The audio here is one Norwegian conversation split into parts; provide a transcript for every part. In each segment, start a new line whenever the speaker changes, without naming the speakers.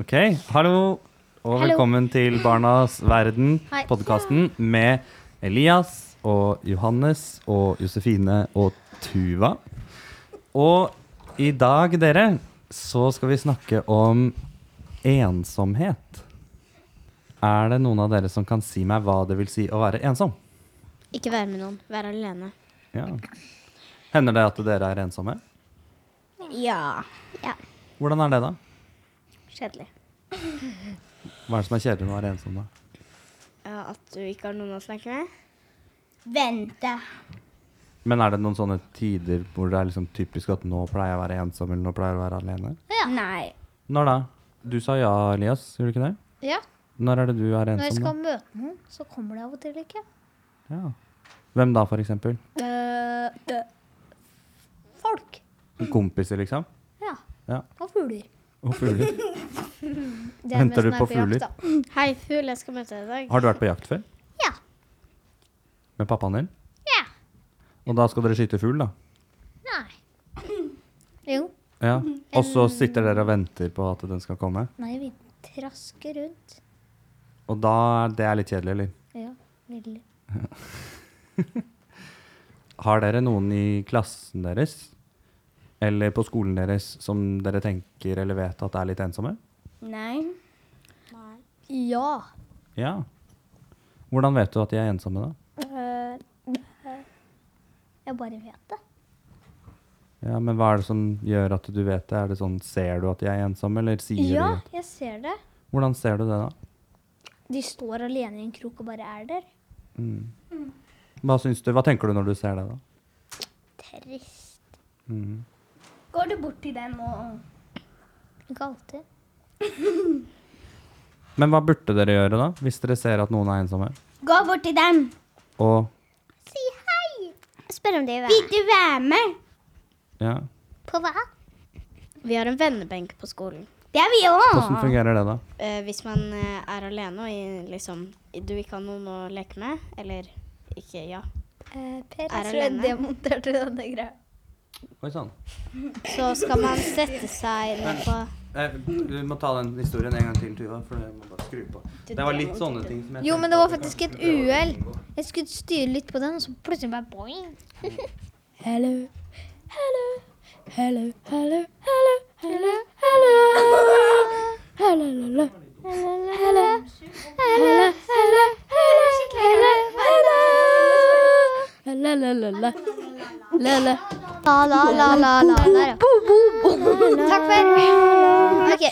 Ok, hallo og
Hallo.
velkommen til Barnas verden,
Hei.
podkasten med Elias og Johannes og Josefine og Tuva. Og i dag, dere, så skal vi snakke om ensomhet. Er det noen av dere som kan si meg hva det vil si å være ensom?
Ikke være med noen. Være alene.
Ja. Hender det at dere er ensomme?
Ja. ja.
Hvordan er det, da?
Kjedelig.
Hva er det som er kjedelig med å være ensom, da?
At du ikke har noen å snakke med?
Vente.
Men er det noen sånne tider hvor det er liksom typisk at nå pleier jeg å være ensom, eller nå pleier jeg å være alene?
Nei.
Når da? Du sa ja, Elias, gjorde du ikke det?
Ja,
Når er det du er
Når jeg
ensom,
skal møte noen, så kommer det av og til ikke.
da? Ja. Hvem da, for eksempel?
Eh, det- folk.
Kompiser, liksom?
Ja.
Ja.
Og fugler.
Og fugler.
Det er
Venter
mens
du
man
på
er jakt,
fugler?
da.
Hei, fugl, jeg skal møte deg i dag.
Har du vært på jakt før?
Ja.
Med pappaen din?
Ja.
Og da skal dere skyte fugl, da?
Nei. Jo.
Ja. Og så
Mm-hmm.
sitter dere og venter på at den skal komme?
Nei, vi trasker rundt.
Og da Det er litt kjedelig, eller?
Ja, veldig.
Har dere noen i klassen deres eller på skolen deres som dere tenker eller vet at er litt ensomme?
Nei.
Ja.
Ja. Hvordan vet du at de er ensomme, da?
Eh, eh, jeg bare vet det.
Ja, Men hva er det som gjør at du vet det? Er det sånn, Ser du at de er ensomme, eller sier
Ja,
du
jeg ser det.
Hvordan ser du det, da?
De står alene i en krok og bare er der.
Mm. Hva, syns du, hva tenker du når du ser det, da?
Trist.
Mm.
Går du bort til dem og Ikke alltid.
Men hva burde dere gjøre, da? Hvis dere ser at noen er ensomme?
Gå bort til dem.
Og
Si hei!
Spør om de vil være med.
Vil du være med?
ja,
På hva?
Vi har en vennebenk på skolen.
Det er vi
Hvordan
òg.
fungerer det, da?
Eh, hvis man eh, er alene og i- liksom du ikke har noen å leke med, eller ikke ja,
Eh, per,
Er
jeg tror jeg
alene.
demonterte denne greia.
Oi sånn. sann.
så skal man sette seg ned på
Eh, Du må ta den historien en gang til, Tuva. For jeg må bare skru på. Det var litt sånne ting som jeg
Jo,
tenkte
men det var
at vi
faktisk et
kanskje skulle prøve å
uhell.
unngå.
Jeg skulle styre litt på den, og så plutselig bare boing. Hello. Hello. Hello. Hello. Hello. Hello. Hello. Hello. Hello. Hello. Hello. Hello. La la la la La la
La, la, la, la, la. Der, ja.
Takk for Ok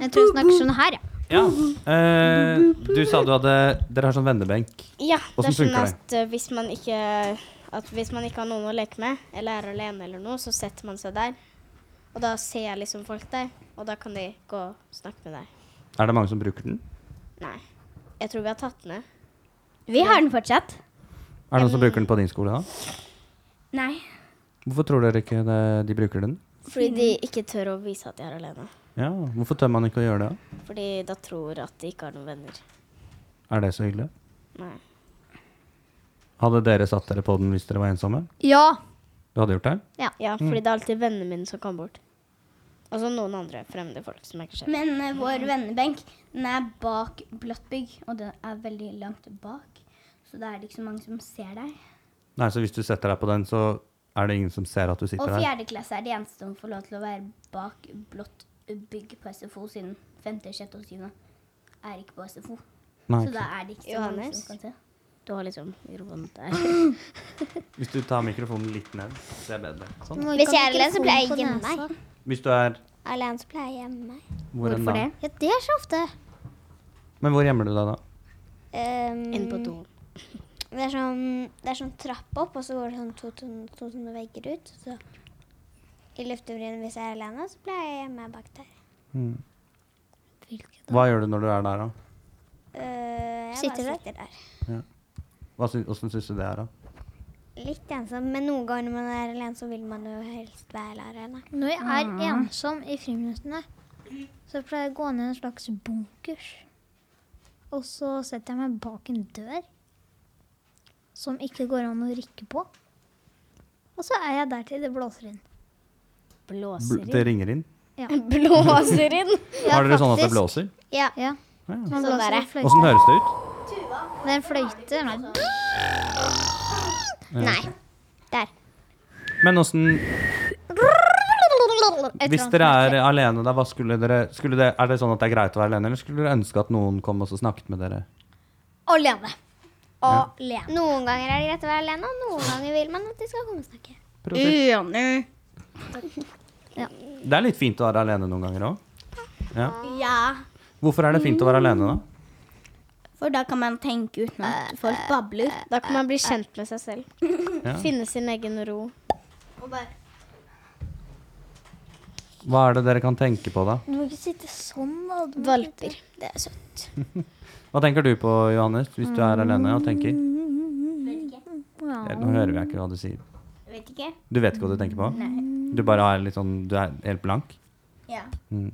Jeg tror jeg snakker sånn her, ja
Ja. Eh, du sa du hadde Dere har sånn vennebenk.
Ja, det
Hvordan
er sånn
funker det?
at eh, hvis man ikke at hvis man ikke har noen å leke med, eller er alene eller noe, så setter man seg der. Og da ser jeg liksom folk der, og da kan de gå og snakke med deg.
Er det mange som bruker den?
Nei. Jeg tror vi har tatt den ned.
Vi har den fortsatt.
Er det noen
Eh,
som bruker den på din skole, da?
Nei.
Hvorfor tror dere ikke det, de bruker den?
Fordi de ikke tør å vise at de er alene.
Ja, Hvorfor tør man ikke å gjøre det? da?
Fordi da tror at de ikke har noen venner.
Er det så hyggelig?
Nei.
Hadde dere satt dere på den hvis dere var ensomme?
Ja
Du hadde gjort det?
Ja,
Mm.
fordi det er alltid vennene mine som kommer bort. Og så noen andre fremmede folk som jeg ikke ser.
Men eh, vår vennebenk den er bak blått bygg, og den er veldig langt bak. Så da er det ikke så mange som ser deg.
Nei, så hvis du setter deg på den, så er det ingen som ser at du
Og
sitter der?
fjerdeklasse er de eneste som får lov til å være bak blått bygg på SFO, siden femte, sjette og syvende er ikke på SFO.
Nei,
Så
ikke
da
sant.
er det ikke så mange
Johannes?
som kan se.
Du har liksom vondt der.
Hvis du tar mikrofonen litt ned, så er det bedre. Sånn.
Hvis jeg er alene så pleier jeg ikke hjemme meg
Hvis du er
Alene så pleier jeg hjemme meg
hvor enn
Hvorfor
da?
det?
Ja, det er så ofte
Men hvor gjemmer du deg da?
Ehm,
Inn på do.
Det er sånn, det er sånn trapp opp, og så går det sånn to sånne to, sånne vegger ut. Så i luftevrien hvis jeg er alene, så pleier jeg hjemme bak der.
Mm. Hva gjør du når du er der, da?
Eh, jeg
Sitter
bare
der?
sitter der.
Hva sy hvordan syns du det er, da?
Litt ensom, men noen ganger når man er alene, så vil man jo helst være alene.
Når jeg er ensom i friminuttene Så pleier jeg å gå ned i en slags bunkers Og så setter jeg meg bak en dør Som ikke går an å rikke på Og så er jeg der til det blåser inn
Bl
Blåser
det
i.
ringer inn?
Blåser inn.
Har dere sånn at det blåser?
Ja.
Ja.
Ja.
Man
Sånn
blåser
der,
i
ja.
fløyte.
Åssen høres det ut?
Det er en fløyte. den er-
Nei.
Men åssen
Et eller
Hvis
annet
dere
fløyte.
er alene der, hva skulle dere, skulle det, er det sånn at det er greit å være alene, eller skulle dere ønske at noen kom og så snakket med dere?
Alene. Alene.
Noen ganger er det greit å være alene, og noen ganger vil man at de skal komme og snakke.
Prosent?
Eh.
Det er litt fint å være alene noen ganger òg. Ja.
Ja,
Hvorfor er det fint å være alene, da?
for da kan man tenke uten at folk babler.
Da kan man bli kjent med seg selv.
Ja.
Finne sin egen ro.
Hva er det dere kan tenke på, da?
Du må ikke sitte sånn.
Valper. Det er søtt.
Hva tenker du på, Johannes, hvis du er alene og tenker?
Mm,
Eh, Nå hører jeg ikke hva du sier.
Vet ikke.
Du vet ikke hva du tenker på? Du bare er litt sånn Du er helt blank?
Ja.
Mm.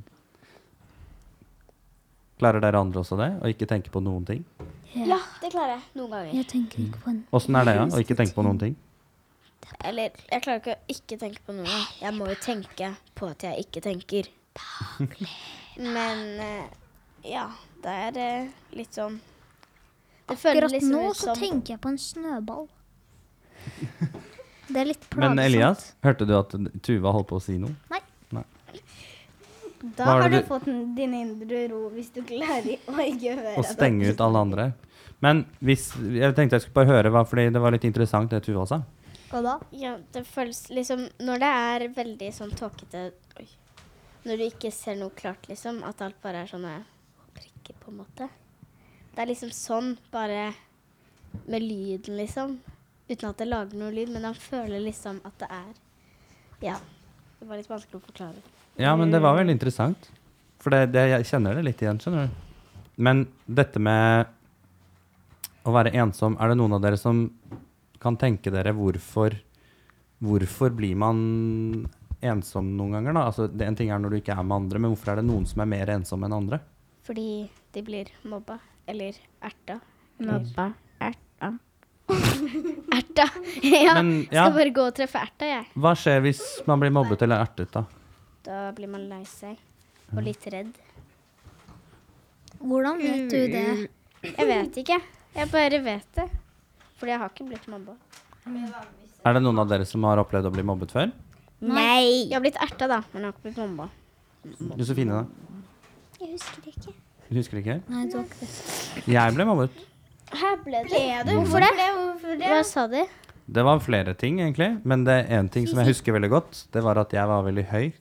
Klarer dere andre også det? Å ikke tenke på noen ting?
Ja, det klarer jeg. Noen ganger.
Jeg tenker ikke på den.
Åssen er det, ja? Å ikke tenke på noen ting?
Eller jeg klarer ikke å ikke tenke på noe. Jeg må jo tenke på at jeg ikke tenker. Men eh, ja, det er eh, litt sånn Det føles
Akkurat
liksom
nå
ut
så
som
tenker jeg på en snøball. Det er litt plagsomt.
Men Elias, hørte du at Tuva holdt på å si noe?
Da
Hva er
har du
det du-
fått en- din indre ro, hvis du klarer å ikke høre
Eh,
Og
altså,
det.
stenge ut alle andre. Men hvis, jeg tenkte jeg skulle bare høre, hva, fordi det var litt interessant det Tuva sa.
Hva da?
Ja, det føles liksom Når det er veldig sånn tåkete Oi. Når du ikke ser noe klart, liksom. At alt bare er sånne prikker, på en måte. Det er liksom sånn, bare med lyden, liksom. Uten at det lager noe lyd, men han føler liksom at det er Ja. Det var litt vanskelig å forklare.
Ja, men det var veldig interessant. For det, det, jeg kjenner det litt igjen, skjønner du. Men dette med å være ensom, er det noen av dere som kan tenke dere hvorfor, hvorfor blir man ensom noen ganger? Da? Altså, det, en ting er når du ikke er med andre, men hvorfor er det noen som er mer ensomme enn andre?
Fordi de blir mobba. Eller erta. Mobba. Erta. erta. Ja,
Men, ja.
Skal bare gå og treffe erta, jeg.
Hva skjer hvis man blir mobbet eller ertet, da?
Da blir man lei seg. Og litt redd.
Hvordan vet du det?
Jeg vet ikke. Jeg bare vet det. Fordi jeg har ikke blitt mobba.
Er det noen av dere som har opplevd å bli mobbet før?
Jeg har blitt erta, da, men jeg har ikke blitt mobba.
Josefine, da?
Jeg husker ikke.
Du husker ikke?
Nei, det var ikke det.
Jeg ble mobbet.
Her ble det.
Ble du? Hvorfor det? Hvorfor det?
Hva sa de?
Det var flere ting, egentlig. Men det er én ting som jeg husker veldig godt. Det var at jeg var veldig høy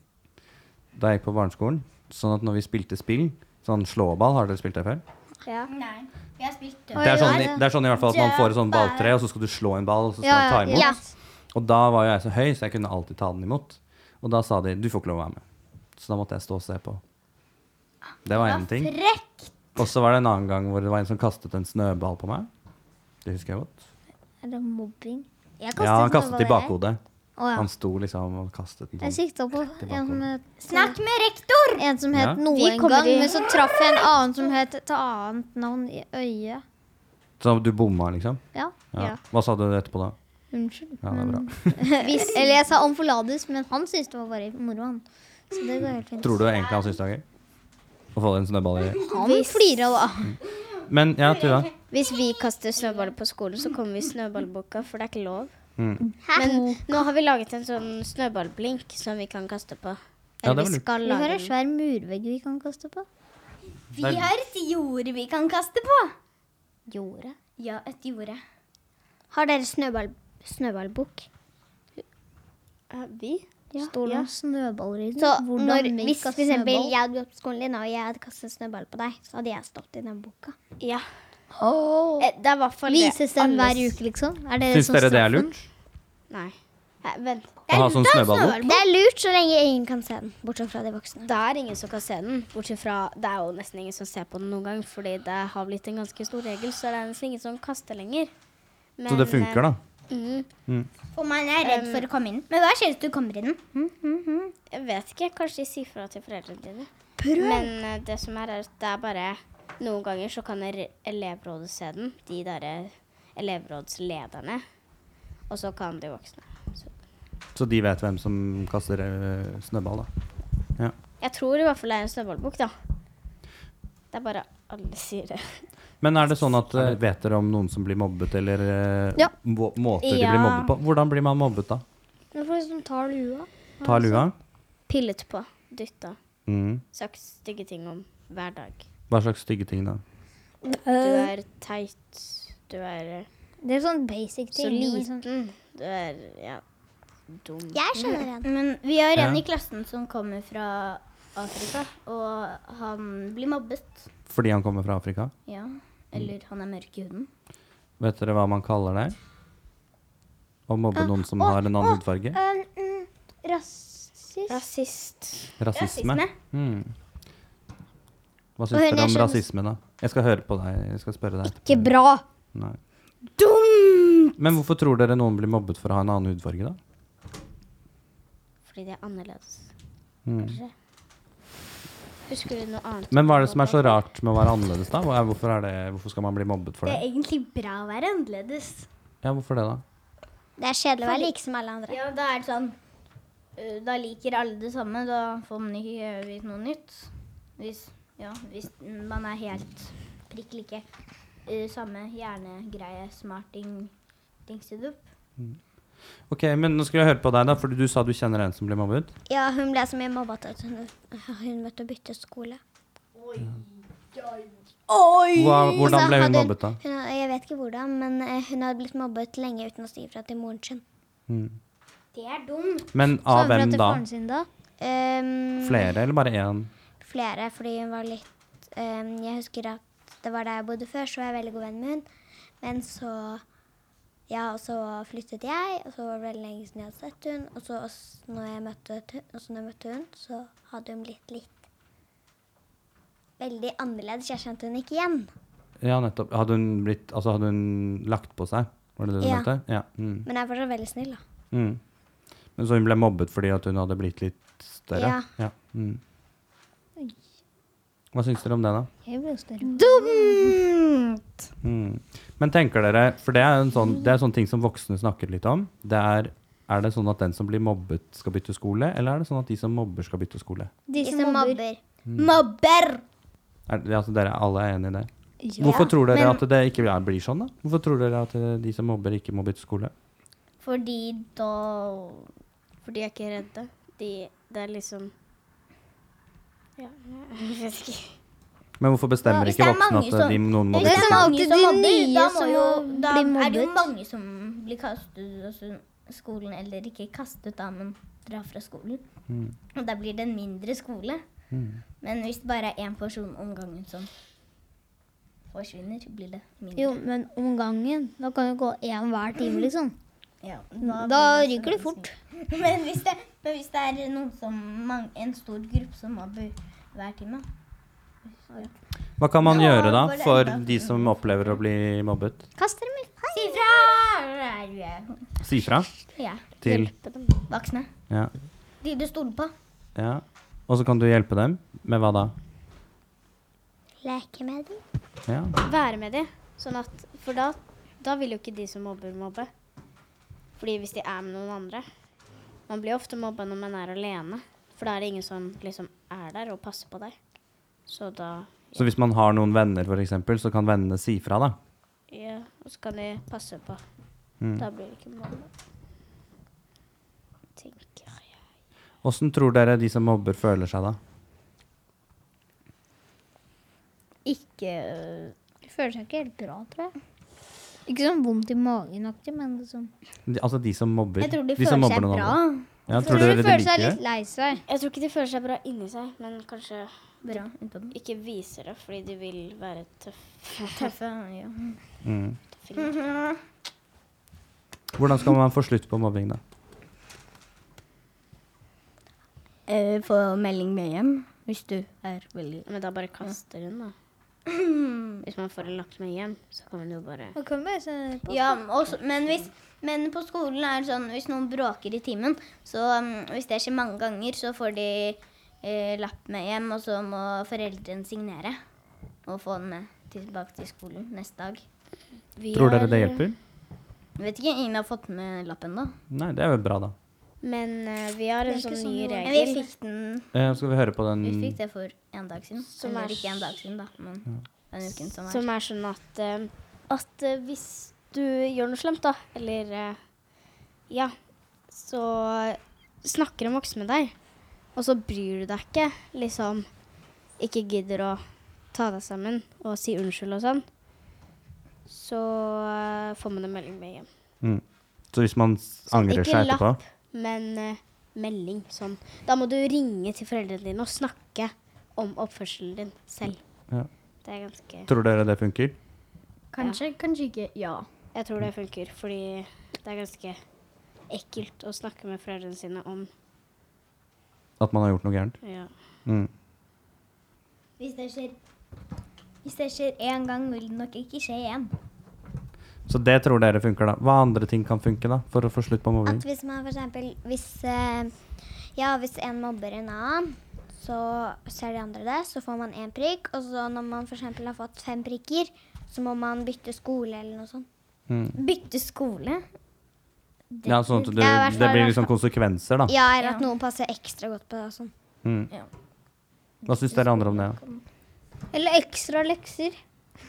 da jeg gikk på barneskolen. Sånn at når vi spilte spill, sånn slåball, har dere spilt det før?
Ja.
Nei, jeg spilte.
Det er sånn, i- det er sånn i hvert fall at man får et sånn balltre, og så skal du slå en ball, og så skal man ta imot.
Ja.
Og da var jo jeg så høy, så jeg kunne alltid ta den imot. Og da sa de 'du får ikke lov å være med'. Så da måtte jeg stå og se på. Det var én ting. Og så var det en annen gang hvor det var en som kastet en snøball på meg. Det husker jeg godt.
Er det mobbing? Jeg
Ja, han
snøball,
kastet i
jeg.
bakhodet.
Å, ja.
Han sto liksom og kastet den
Jeg
sånn.
sikta på en som het
Snakk med rektor!
En som
Ja.
het noe
Vi
en
kommer
gang,
i-
men så traff jeg en annen som het et annet navn i øyet.
Så du bomma, liksom?
Ja,
Ja. Hva sa du etterpå da?
unnskyld.
Ja, det er bra.
Hvis, eller jeg sa amfilades, men han syntes det var bare moro, han. Så det går helt fint.
Tror du egentlig han syntes det var gøy? Å få en snøball i
Han Ah, flira da.
Men ja, Tuva.
Hvis vi kaster snøballer på skolen, så kommer vi i snøballboka, for det er ikke lov.
Mm.
Men nå har vi laget en sånn snøballblink som vi kan kaste på.
Ja, det
Eller
var
vi
lurt.
skal
Vi har
lage
en svær murvegg vi kan kaste på.
Vi har et jord vi kan kaste på.
Jorda.
Ja, et jorde.
Har dere snøball, snøballbok?
Eh, Vi?
Ja. Står det
Ja.
om snøballer i den?
Så
Hvordan
når,
vi
hvis
kaster
for eksempel
snøball?
jeg hadde gått på skolen din og jeg hadde kastet snøball på deg, så hadde jeg stått i den boka.
Ja.
Åh.
Eh, Det er i hvert fall det
Vises den hver
alles-
uke, liksom? Er det
Syns
som
dere det er
straffen?
lurt?
Nei. Eh, Vent.
Å ha sånn snøball?
Det er lurt så lenge ingen kan se den, bortsett fra de voksne.
Det er ingen som kan se den, bortsett fra det er jo nesten ingen som ser på den noen gang, fordi det har blitt en ganske stor regel, så det er nesten ingen som kaster lenger. eh,
Så det funker, da?
Mm,
For man er redd for å komme inn. Men hva skjer hvis du kommer inn?
jeg vet ikke, kanskje de sier fra til foreldrene dine. Prøv. Men eh, det som er, er at det er bare noen ganger så kan re- elevrådet se den, de derre elevrådslederne, og så kan de voksne. Så,
Så de vet hvem som kaster eh, snøball, da? Ja.
Jeg tror i hvert fall det er en snøballbok, da. Det er bare alle sier det.
Men er det sånn at eh, vet dere om noen som blir mobbet, eller eh,
Ja.
må- måter de
Ja.
blir mobbet på? Hvordan blir man mobbet, da?
Men folk som tar lua.
Ta
Altså.
lua?
Pillet på, dytta,
Mm.
sagt stygge ting om hver dag.
Hva slags stygge ting, da?
Du er teit, du er eh,
Eh. Det er sånn basic ting.
så
men sånn-
liten, du er ja, dum.
Jeg skjønner den.
Men vi har en
Ja.
i klassen som kommer fra Afrika, og han blir mobbet.
Fordi han kommer fra Afrika?
Ja. Eller han er mørk i huden.
Vet dere hva man kaller det? Å mobbe noen som har en annen hudfarge?
Rasist.
Rasist.
Rasisme.
rasisme.
Mm. Hva
Og
syns
hun
dere
jeg
om
skjønner-
rasisme, da? Jeg skal høre på deg. Jeg skal spørre deg etterpå.
Ikke bra.
Nei. Men hvorfor tror dere noen blir mobbet for å ha en annen hudfarge, da?
Fordi det er annerledes.
Mm.
Husker du noe annet?
Men hva er det som er så rart med å være annerledes, da? Hva er- Hvorfor, er det, hvorfor skal man bli mobbet for
Det er
det?
egentlig bra å være annerledes.
Ja, hvorfor det, da?
Det er kjedelig å være like som alle andre.
Ja, da er det sånn eh, Da liker alle det samme. Da får man ikke eh, vite noe nytt. Hvis, ja, hvis man er helt prikk like. eh, Samme hjernegreie, smarting, dingsedupp.
Ok, men nå skal jeg høre på deg, da, for du sa du kjenner en som blir mobbet.
Ja, hun ble så mye mobba at hun, hun måtte bytte skole.
Hva, hvordan
Altså,
ble hun
hadde
mobbet, da?
Hun, hadde- jeg vet ikke hvordan, men eh, hun hadde blitt mobbet lenge uten å si ifra til moren sin.
Mm.
Det er dumt.
Men av hvem da?
Faren sin, da?
Ehm,
Flere, eller bare én?
Flere, fordi hun var litt ehm, Jeg husker at det var der jeg bodde før, så var jeg veldig god venn med hun. Men så Ja, og så flyttet jeg, og så var det veldig lenge siden jeg hadde sett hun. Og så også når jeg møtte, t- også når jeg møtte hun, så hadde hun blitt litt Veldig annerledes. Jeg kjente hun ikke igjen.
Ja, nettopp. Hadde hun blitt Altså, hadde hun lagt på seg? Var det det du
Ja.
mente? Ja. Mm.
Men jeg er fortsatt veldig snill, da.
Mm. Men så hun ble mobbet fordi at hun hadde blitt litt større?
Ja.
Mm. Hva syns dere om det, da?
Jeg blir jo større.
Mm. Men tenker dere, for det er en sånn, det er sånn ting som voksne snakker litt om. Det er, er det sånn at den som blir mobbet, skal bytte skole, eller er det sånn at de som mobber, skal bytte skole?
De
De
som mobber.
Mm.
Mobber!
Er, det- altså dere alle er enig i det?
Ja.
Hvorfor tror dere at det ikke er- blir sånn, da? Hvorfor tror dere at eh, de som mobber, ikke må bytte skole?
Fordi da
For de er ikke redde. De, det er liksom Ja, jeg vet ikke.
Men hvorfor bestemmer
Ja, hvis
ikke
det er
voksne
mange
at eh, de,
som-
noen må
Hvis det
bytte
er
skole?
mange
alltid
som
de
mobber, da,
nye
må
som
jo,
må
da
bli
er det jo
mobbet.
mange som blir kastet ut av s- skolen, eller ikke kastet da, men drar fra skolen.
Mm.
Og da blir det en mindre skole. Men hvis det bare er én person om gangen som forsvinner, blir det mindre.
Jo, men om gangen. Da kan det gå én hver time, liksom.
Ja,
Da
blir
ryker det sånn
så
fort.
mye. Men hvis det, men hvis det er noen som, mang- en stor gruppe som mobber hver time
Hva kan man
Ja,
gjøre da
bare
for
enda-
de som opplever å bli mobbet?
Kast dem i.
Si fra!
Si fra
Ja.
til
Voksne.
ja,
De du stoler på.
ja. Og så kan du hjelpe dem med hva da?
Leke med dem.
Ja.
Være med de. Sånn at, for da, da vil jo ikke de som mobber, mobbe. Fordi hvis de er med noen andre Man blir ofte mobba når man er alene. For da er det ingen som liksom er der og passer på deg. Så da
Så hvis man har noen venner, f.eks., så kan vennene si fra, da.
Ja, og så kan de passe på.
Mm.
Da blir det ikke mobba. Tenker jeg.
Åssen tror dere de som mobber, føler seg da?
Ikke øh,
De føler seg ikke helt bra, tror jeg. Ikke sånn vondt i magen-aktig, men liksom
De, altså de som mobber?
Jeg tror de
som
føler
mobber
seg
noen
bra.
andre. Ja, tror
de
dere de
føler seg
liker
litt
det?
lei seg.
Jeg tror ikke de føler seg bra inni seg, men kanskje
Bra utenpå.
ikke viser det fordi de vil være tøffe.
Tøffe. Ja.
Mm.
Mhm.
Hvordan skal man få slutt på mobbing, da?
Eh, Få melding med hjem hvis du er veldig
Men da bare kaster hun, da. Hvis man får lagt meg hjem, så kan man jo bare
Man kan bare sende det på.
Ja, også, men, hvis, men på skolen er det sånn hvis noen bråker i timen, så um, hvis det skjer mange ganger, så får de eh, lapp med hjem, og så må foreldrene signere og få den med tilbake til skolen neste dag.
Vi
Tror dere
er-
det hjelper?
Jeg vet ikke, ingen har fått med lappen da.
Nei, det er jo bra, da.
Men eh, vi har en
Det er ikke
sånn
sånn
ny
det var.
Men vi
regel.
fikk den
Eh, skal vi høre på den
Vi fikk det for en dag siden.
Som
Eller
er-
ikke en dag siden, da, men den uken som er.
Som er sånn at eh, At eh, hvis du gjør noe slemt, da, eller eh, Ja, så snakker en voksen med deg, og så bryr du deg ikke, liksom Ikke gidder å ta deg sammen og si unnskyld og sånn, så eh, får man en melding med hjem.
Mm. Så hvis man s- angrer
ikke
seg etterpå
lapp. Men eh, melding sånn Da må du ringe til foreldrene dine og snakke om oppførselen din selv.
Ja.
Det er ganske
Tror dere det funker?
Kanskje, kanskje ikke. Ja.
Jeg tror det funker, fordi det er ganske ekkelt å snakke med foreldrene sine om
At man har gjort noe gærent?
ja.
Mm.
Hvis det skjer Hvis det skjer én gang, vil det nok ikke skje igjen.
Så det tror dere funker, da. Hva andre ting kan funke da, for å få slutt på mobbing?
At hvis man for eksempel hvis, eh, ja, hvis en mobber en annen, så ser de andre det, så får man én prikk. Og så når man for eksempel har fått fem prikker, så må man bytte skole eller noe sånt.
Mm.
Bytte skole?
Ja, sånn at du,
Ja, i hvert
det
fall-
blir liksom konsekvenser, da.
Ja, eller at noen passer ekstra godt på det og sånn.
Mm.
Ja.
Hva syns dere andre om det?
Eller ekstra lekser.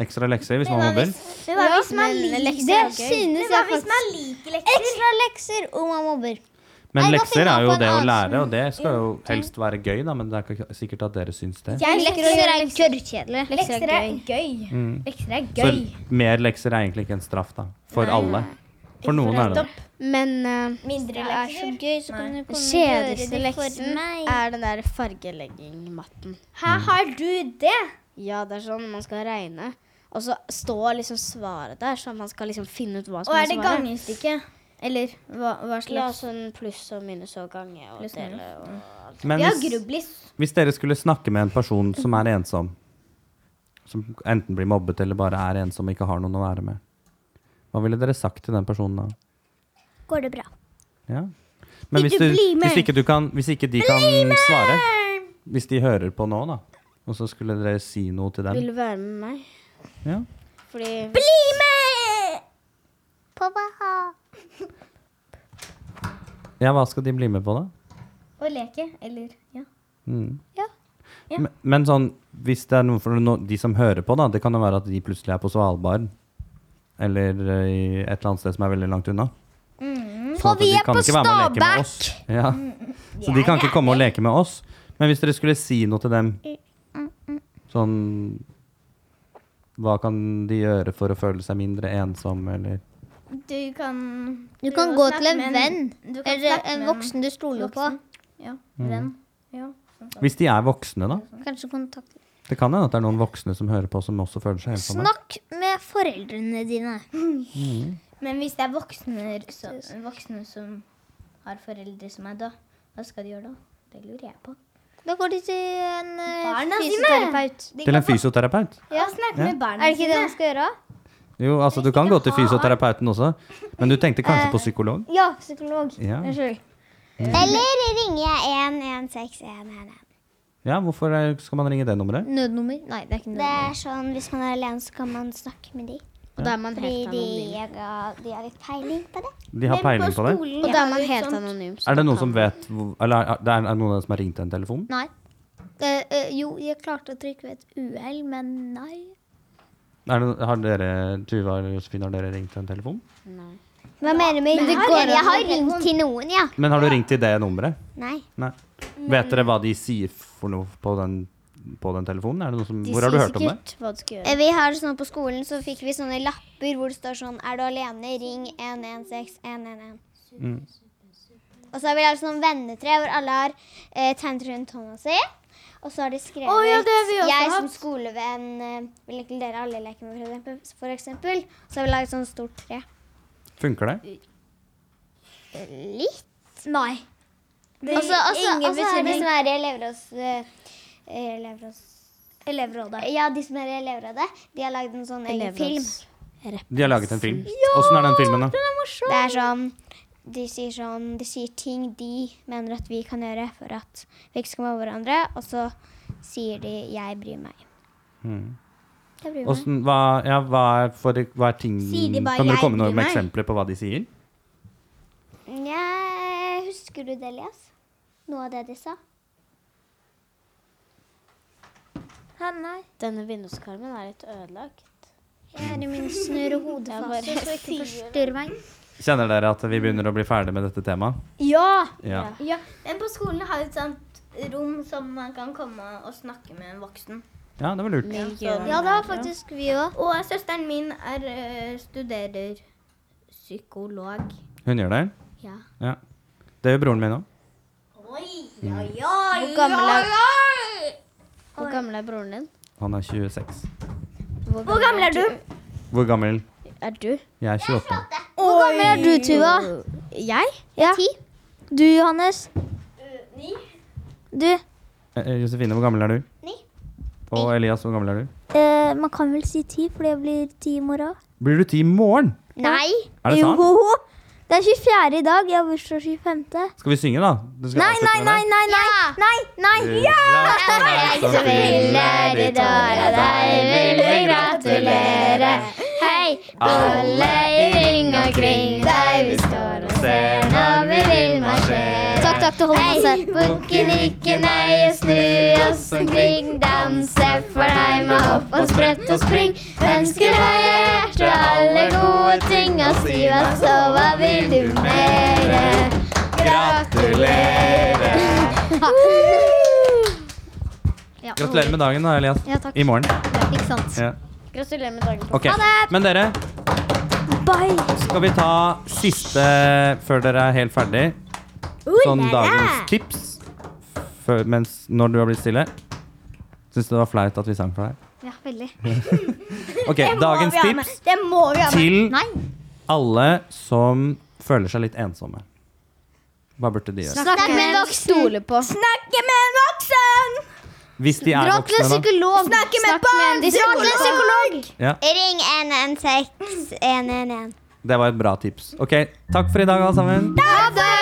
Ekstra lekser hvis man mobber?
Men hva hvis man liker
Det synes jeg faktisk.
man liker lekser?
Ekstra lekser om man mobber.
Men
Nei, nå
lekser
finner
er
jeg
jo
på en
det å
annen
lære, og det skal jo helst være gøy, da, men det er ikke sikkert at dere syns det.
Jeg
liker å gjøre
gørrkjedelig.
Lekser er gøy.
Mm.
Lekser er
Så
gøy.
mer lekser er egentlig ikke en straff, da. For alle. For noen er det det.
Men eh,
Mindre
Det er så
lekser.
gøy, så kan du
den
komme og gjøre
kjedeligste
det for
leksen
meg.
er den der fargeleggingmatten.
Her har du det.
Ja, det er sånn man skal regne, og så står liksom svaret der, så man skal liksom finne ut hva
Og
som
er det
svaret.
gangestykke? Eller hva, hva
Ja,
slags
sånn pluss og minus og gange og Mm.
Pluss og
dele og
Men
Ja,
hvis,
grublis.
hvis dere skulle snakke med en person som er ensom, som enten blir mobbet eller bare er ensom og ikke har noen å være med, hva ville dere sagt til den personen da?
Går det bra?
Ja. Men hvis,
Ikke
du,
bli med!
hvis, ikke du kan, hvis ikke de kan svare, hvis de hører på nå, da, og så skulle dere si noe til dem
Vil du være med meg?
ja.
Fordi
ja, hva skal de bli med på, da?
Å leke, eller ja.
Mm.
Ja. Ja.
Men, men sånn, hvis det er noe for no, de som hører på, da, det kan jo være at de plutselig er på Svalbard. Eller eh, i et eller annet sted som er veldig langt unna. Sånn at
vi
de
er
kan
på
ikke være med og leke med oss. Ja. Så de kan ikke komme og leke med oss. Men hvis dere skulle si noe til dem sånn Hva kan de gjøre for å føle seg mindre ensomme, eller
Du kan
Du kan
prøve å
gå til
snakke
en
med
venn,
du kan
eller
snakke
en
med
voksen du stoler på.
voksen. Ja,
Mm.
venn. Ja.
Hvis de er voksne, da.
Kanskje kontakt.
Det kan hende at det er noen voksne som hører på, som også føler seg ensomme.
Snakk med foreldrene dine.
Men hvis det er voksne, så, voksne som har foreldre som er døde, hva skal de gjøre da? Det lurer jeg på.
Da går de til en eh,
Barna sine!
fysioterapeut.
Til
De kan
en fysioterapeut?
få- Ja, snakke med
Er
barna
det ikke det
sine.
man skal gjøre?
Jo, altså du kan gå til fysioterapeuten også, men du tenkte kanskje på psykolog?
Ja, psykolog.
Ja,
Unnskyld.
Eller ringer jeg 116111?
ja hvorfor eh, skal man ringe det nummeret?
Nødnummer? Nei, det er ikke
Det
nødnummer.
er sånn hvis man er alene, så kan man snakke med de.
Og da er man
Fordi
helt
de,
anonym.
de har litt peiling på det.
De har peiling på det.
Og da er man helt anonym. så
Er det
da
noen
kan
som
man-
vet hvor, Eller er, det er, er det noen av dere som har ringt en telefon?
Nei. Eh, eh, jo, jeg klarte å trykke ved et uhell, men nei.
Er det, har dere, Tuva eller Josefine, har dere ringt en telefon?
Hva mener du?
det går an å
jeg har ringt til noen, ja.
Men har du ringt til det nummeret?
Nei.
Nei. Vet dere hva de sier for noe på den, på den telefonen? Er det noe som,
De
hvor har du
sier
hørt om det?
sikkert Hva du skal gjøre.
Eh, Vi har sånn på skolen, så fikk vi sånne lapper hvor det står sånn Er du alene? Ring 116111.
Mm.
Og så har vi lagd sånn vennetre hvor alle har eh, tegnet rundt hånda si. Og så har de skrevet
Å, ja, det har vi også
Jeg som
hatt.
skolevenn eh, vil ikke dere alle leke med, for eksempel. For eksempel. Så har vi laget sånn stort tre.
Funker det?
Litt.
Nei.
Og så og så-
ingen
og så er det
bekymring.
altså, som er i elevråds... eh, elevråds
Elevrådet.
ja, de som er i elevrådet, de har lagd en sånn egen film.
De har laget en film. Åssen er den filmen, da?
Det er sånn de sier, sånn de sier ting de mener at vi kan gjøre for at vi ikke skal mobbe hverandre, og så sier de 'jeg bryr meg'.
Mm.
Jeg bryr meg.
Åssen- hva, ja, hva, er for, hva er ting
Sier de bare,
Kan dere
«Jeg
komme noe
bryr
med
meg».
eksempler på hva de sier?
Jeg husker Husker du det, Elias? Noe av det de sa? Hæ, nei.
Denne vinduskarmen er litt ødelagt.
Hjernen min snurrer hodet
Jeg
fast,
bare
så ikke forstyrr meg.
Kjenner dere at vi begynner å bli ferdig med dette temaet?
Ja!
Ja.
ja. Men på skolen har vi et sånt rom som man kan komme og snakke med en voksen.
ja, det var lurt.
Miljøvern.
Ja, det har faktisk vi òg.
Og søsteren min er, eh, studerer psykolog.
Hun gjør det?
Ja.
Ja. Det gjør broren min Mm. òg.
Oi, oi, oi,
Hvor gammel er, Hvor gammel er broren din?
Han er 26.
Hvor gammel er du?
Hvor gammel?
Er du?
Jeg er 28.
Hvor gammel er du, Tuva?
Jeg?
Ja. Du, Johannes?
Ni.
Du,
Eh, eh, Josefine, hvor gammel er du?
Ni.
Og Elias, hvor gammel er du?
eh, man kan vel si ti, for det blir ti i morgen.
Blir du ti i morgen?
Nei!
Er det sant?
Jo! Det er 24 i dag. Jeg har bursdag 25.
Skal vi synge, da? Du skal
Nei,
avslutte
nei,
med
nei,
det.
nei! nei, nei, nei.
Hurra for deg som fyller ditt år, og deg vil vi gratulere.
Hei!
Alle i ring omkring deg, vi står og ser når vi vil marsjere.
Takk, takk til Holmensen.
Bukken ikke nei, snu oss omkring. Danse for deg med hopp og sprett og spring. Ønsker deg hjerte og alle gode ting. Og si hva så, hva vil du mere? Gratulere. Gratulerer med dagen, da, Elias.
Ja, takk.
I morgen.
Ikke sant.
Ja.
Gratulerer med dagen.
Ok, Men dere,
Bye!
skal vi ta siste før dere er helt ferdig? Sånn dagens tips før, mens, når du har blitt stille. Syns du det var flaut at vi sang for deg?
Ja, veldig.
Ok, Dagens tips
Det må vi ha med.
til
Nei.
alle som føler seg litt ensomme. Hva burde de gjøre?
Snakk med en
Stole på.
Snakke med en voksen!
Hvis de er
Dra til en
voksne, da.
psykolog.
Snakke med
Snakk
barn!
de
Dra til en psykolog!
Ring 116 111.
Det var et bra tips. Ok, Takk for i dag, alle sammen.
Ha det!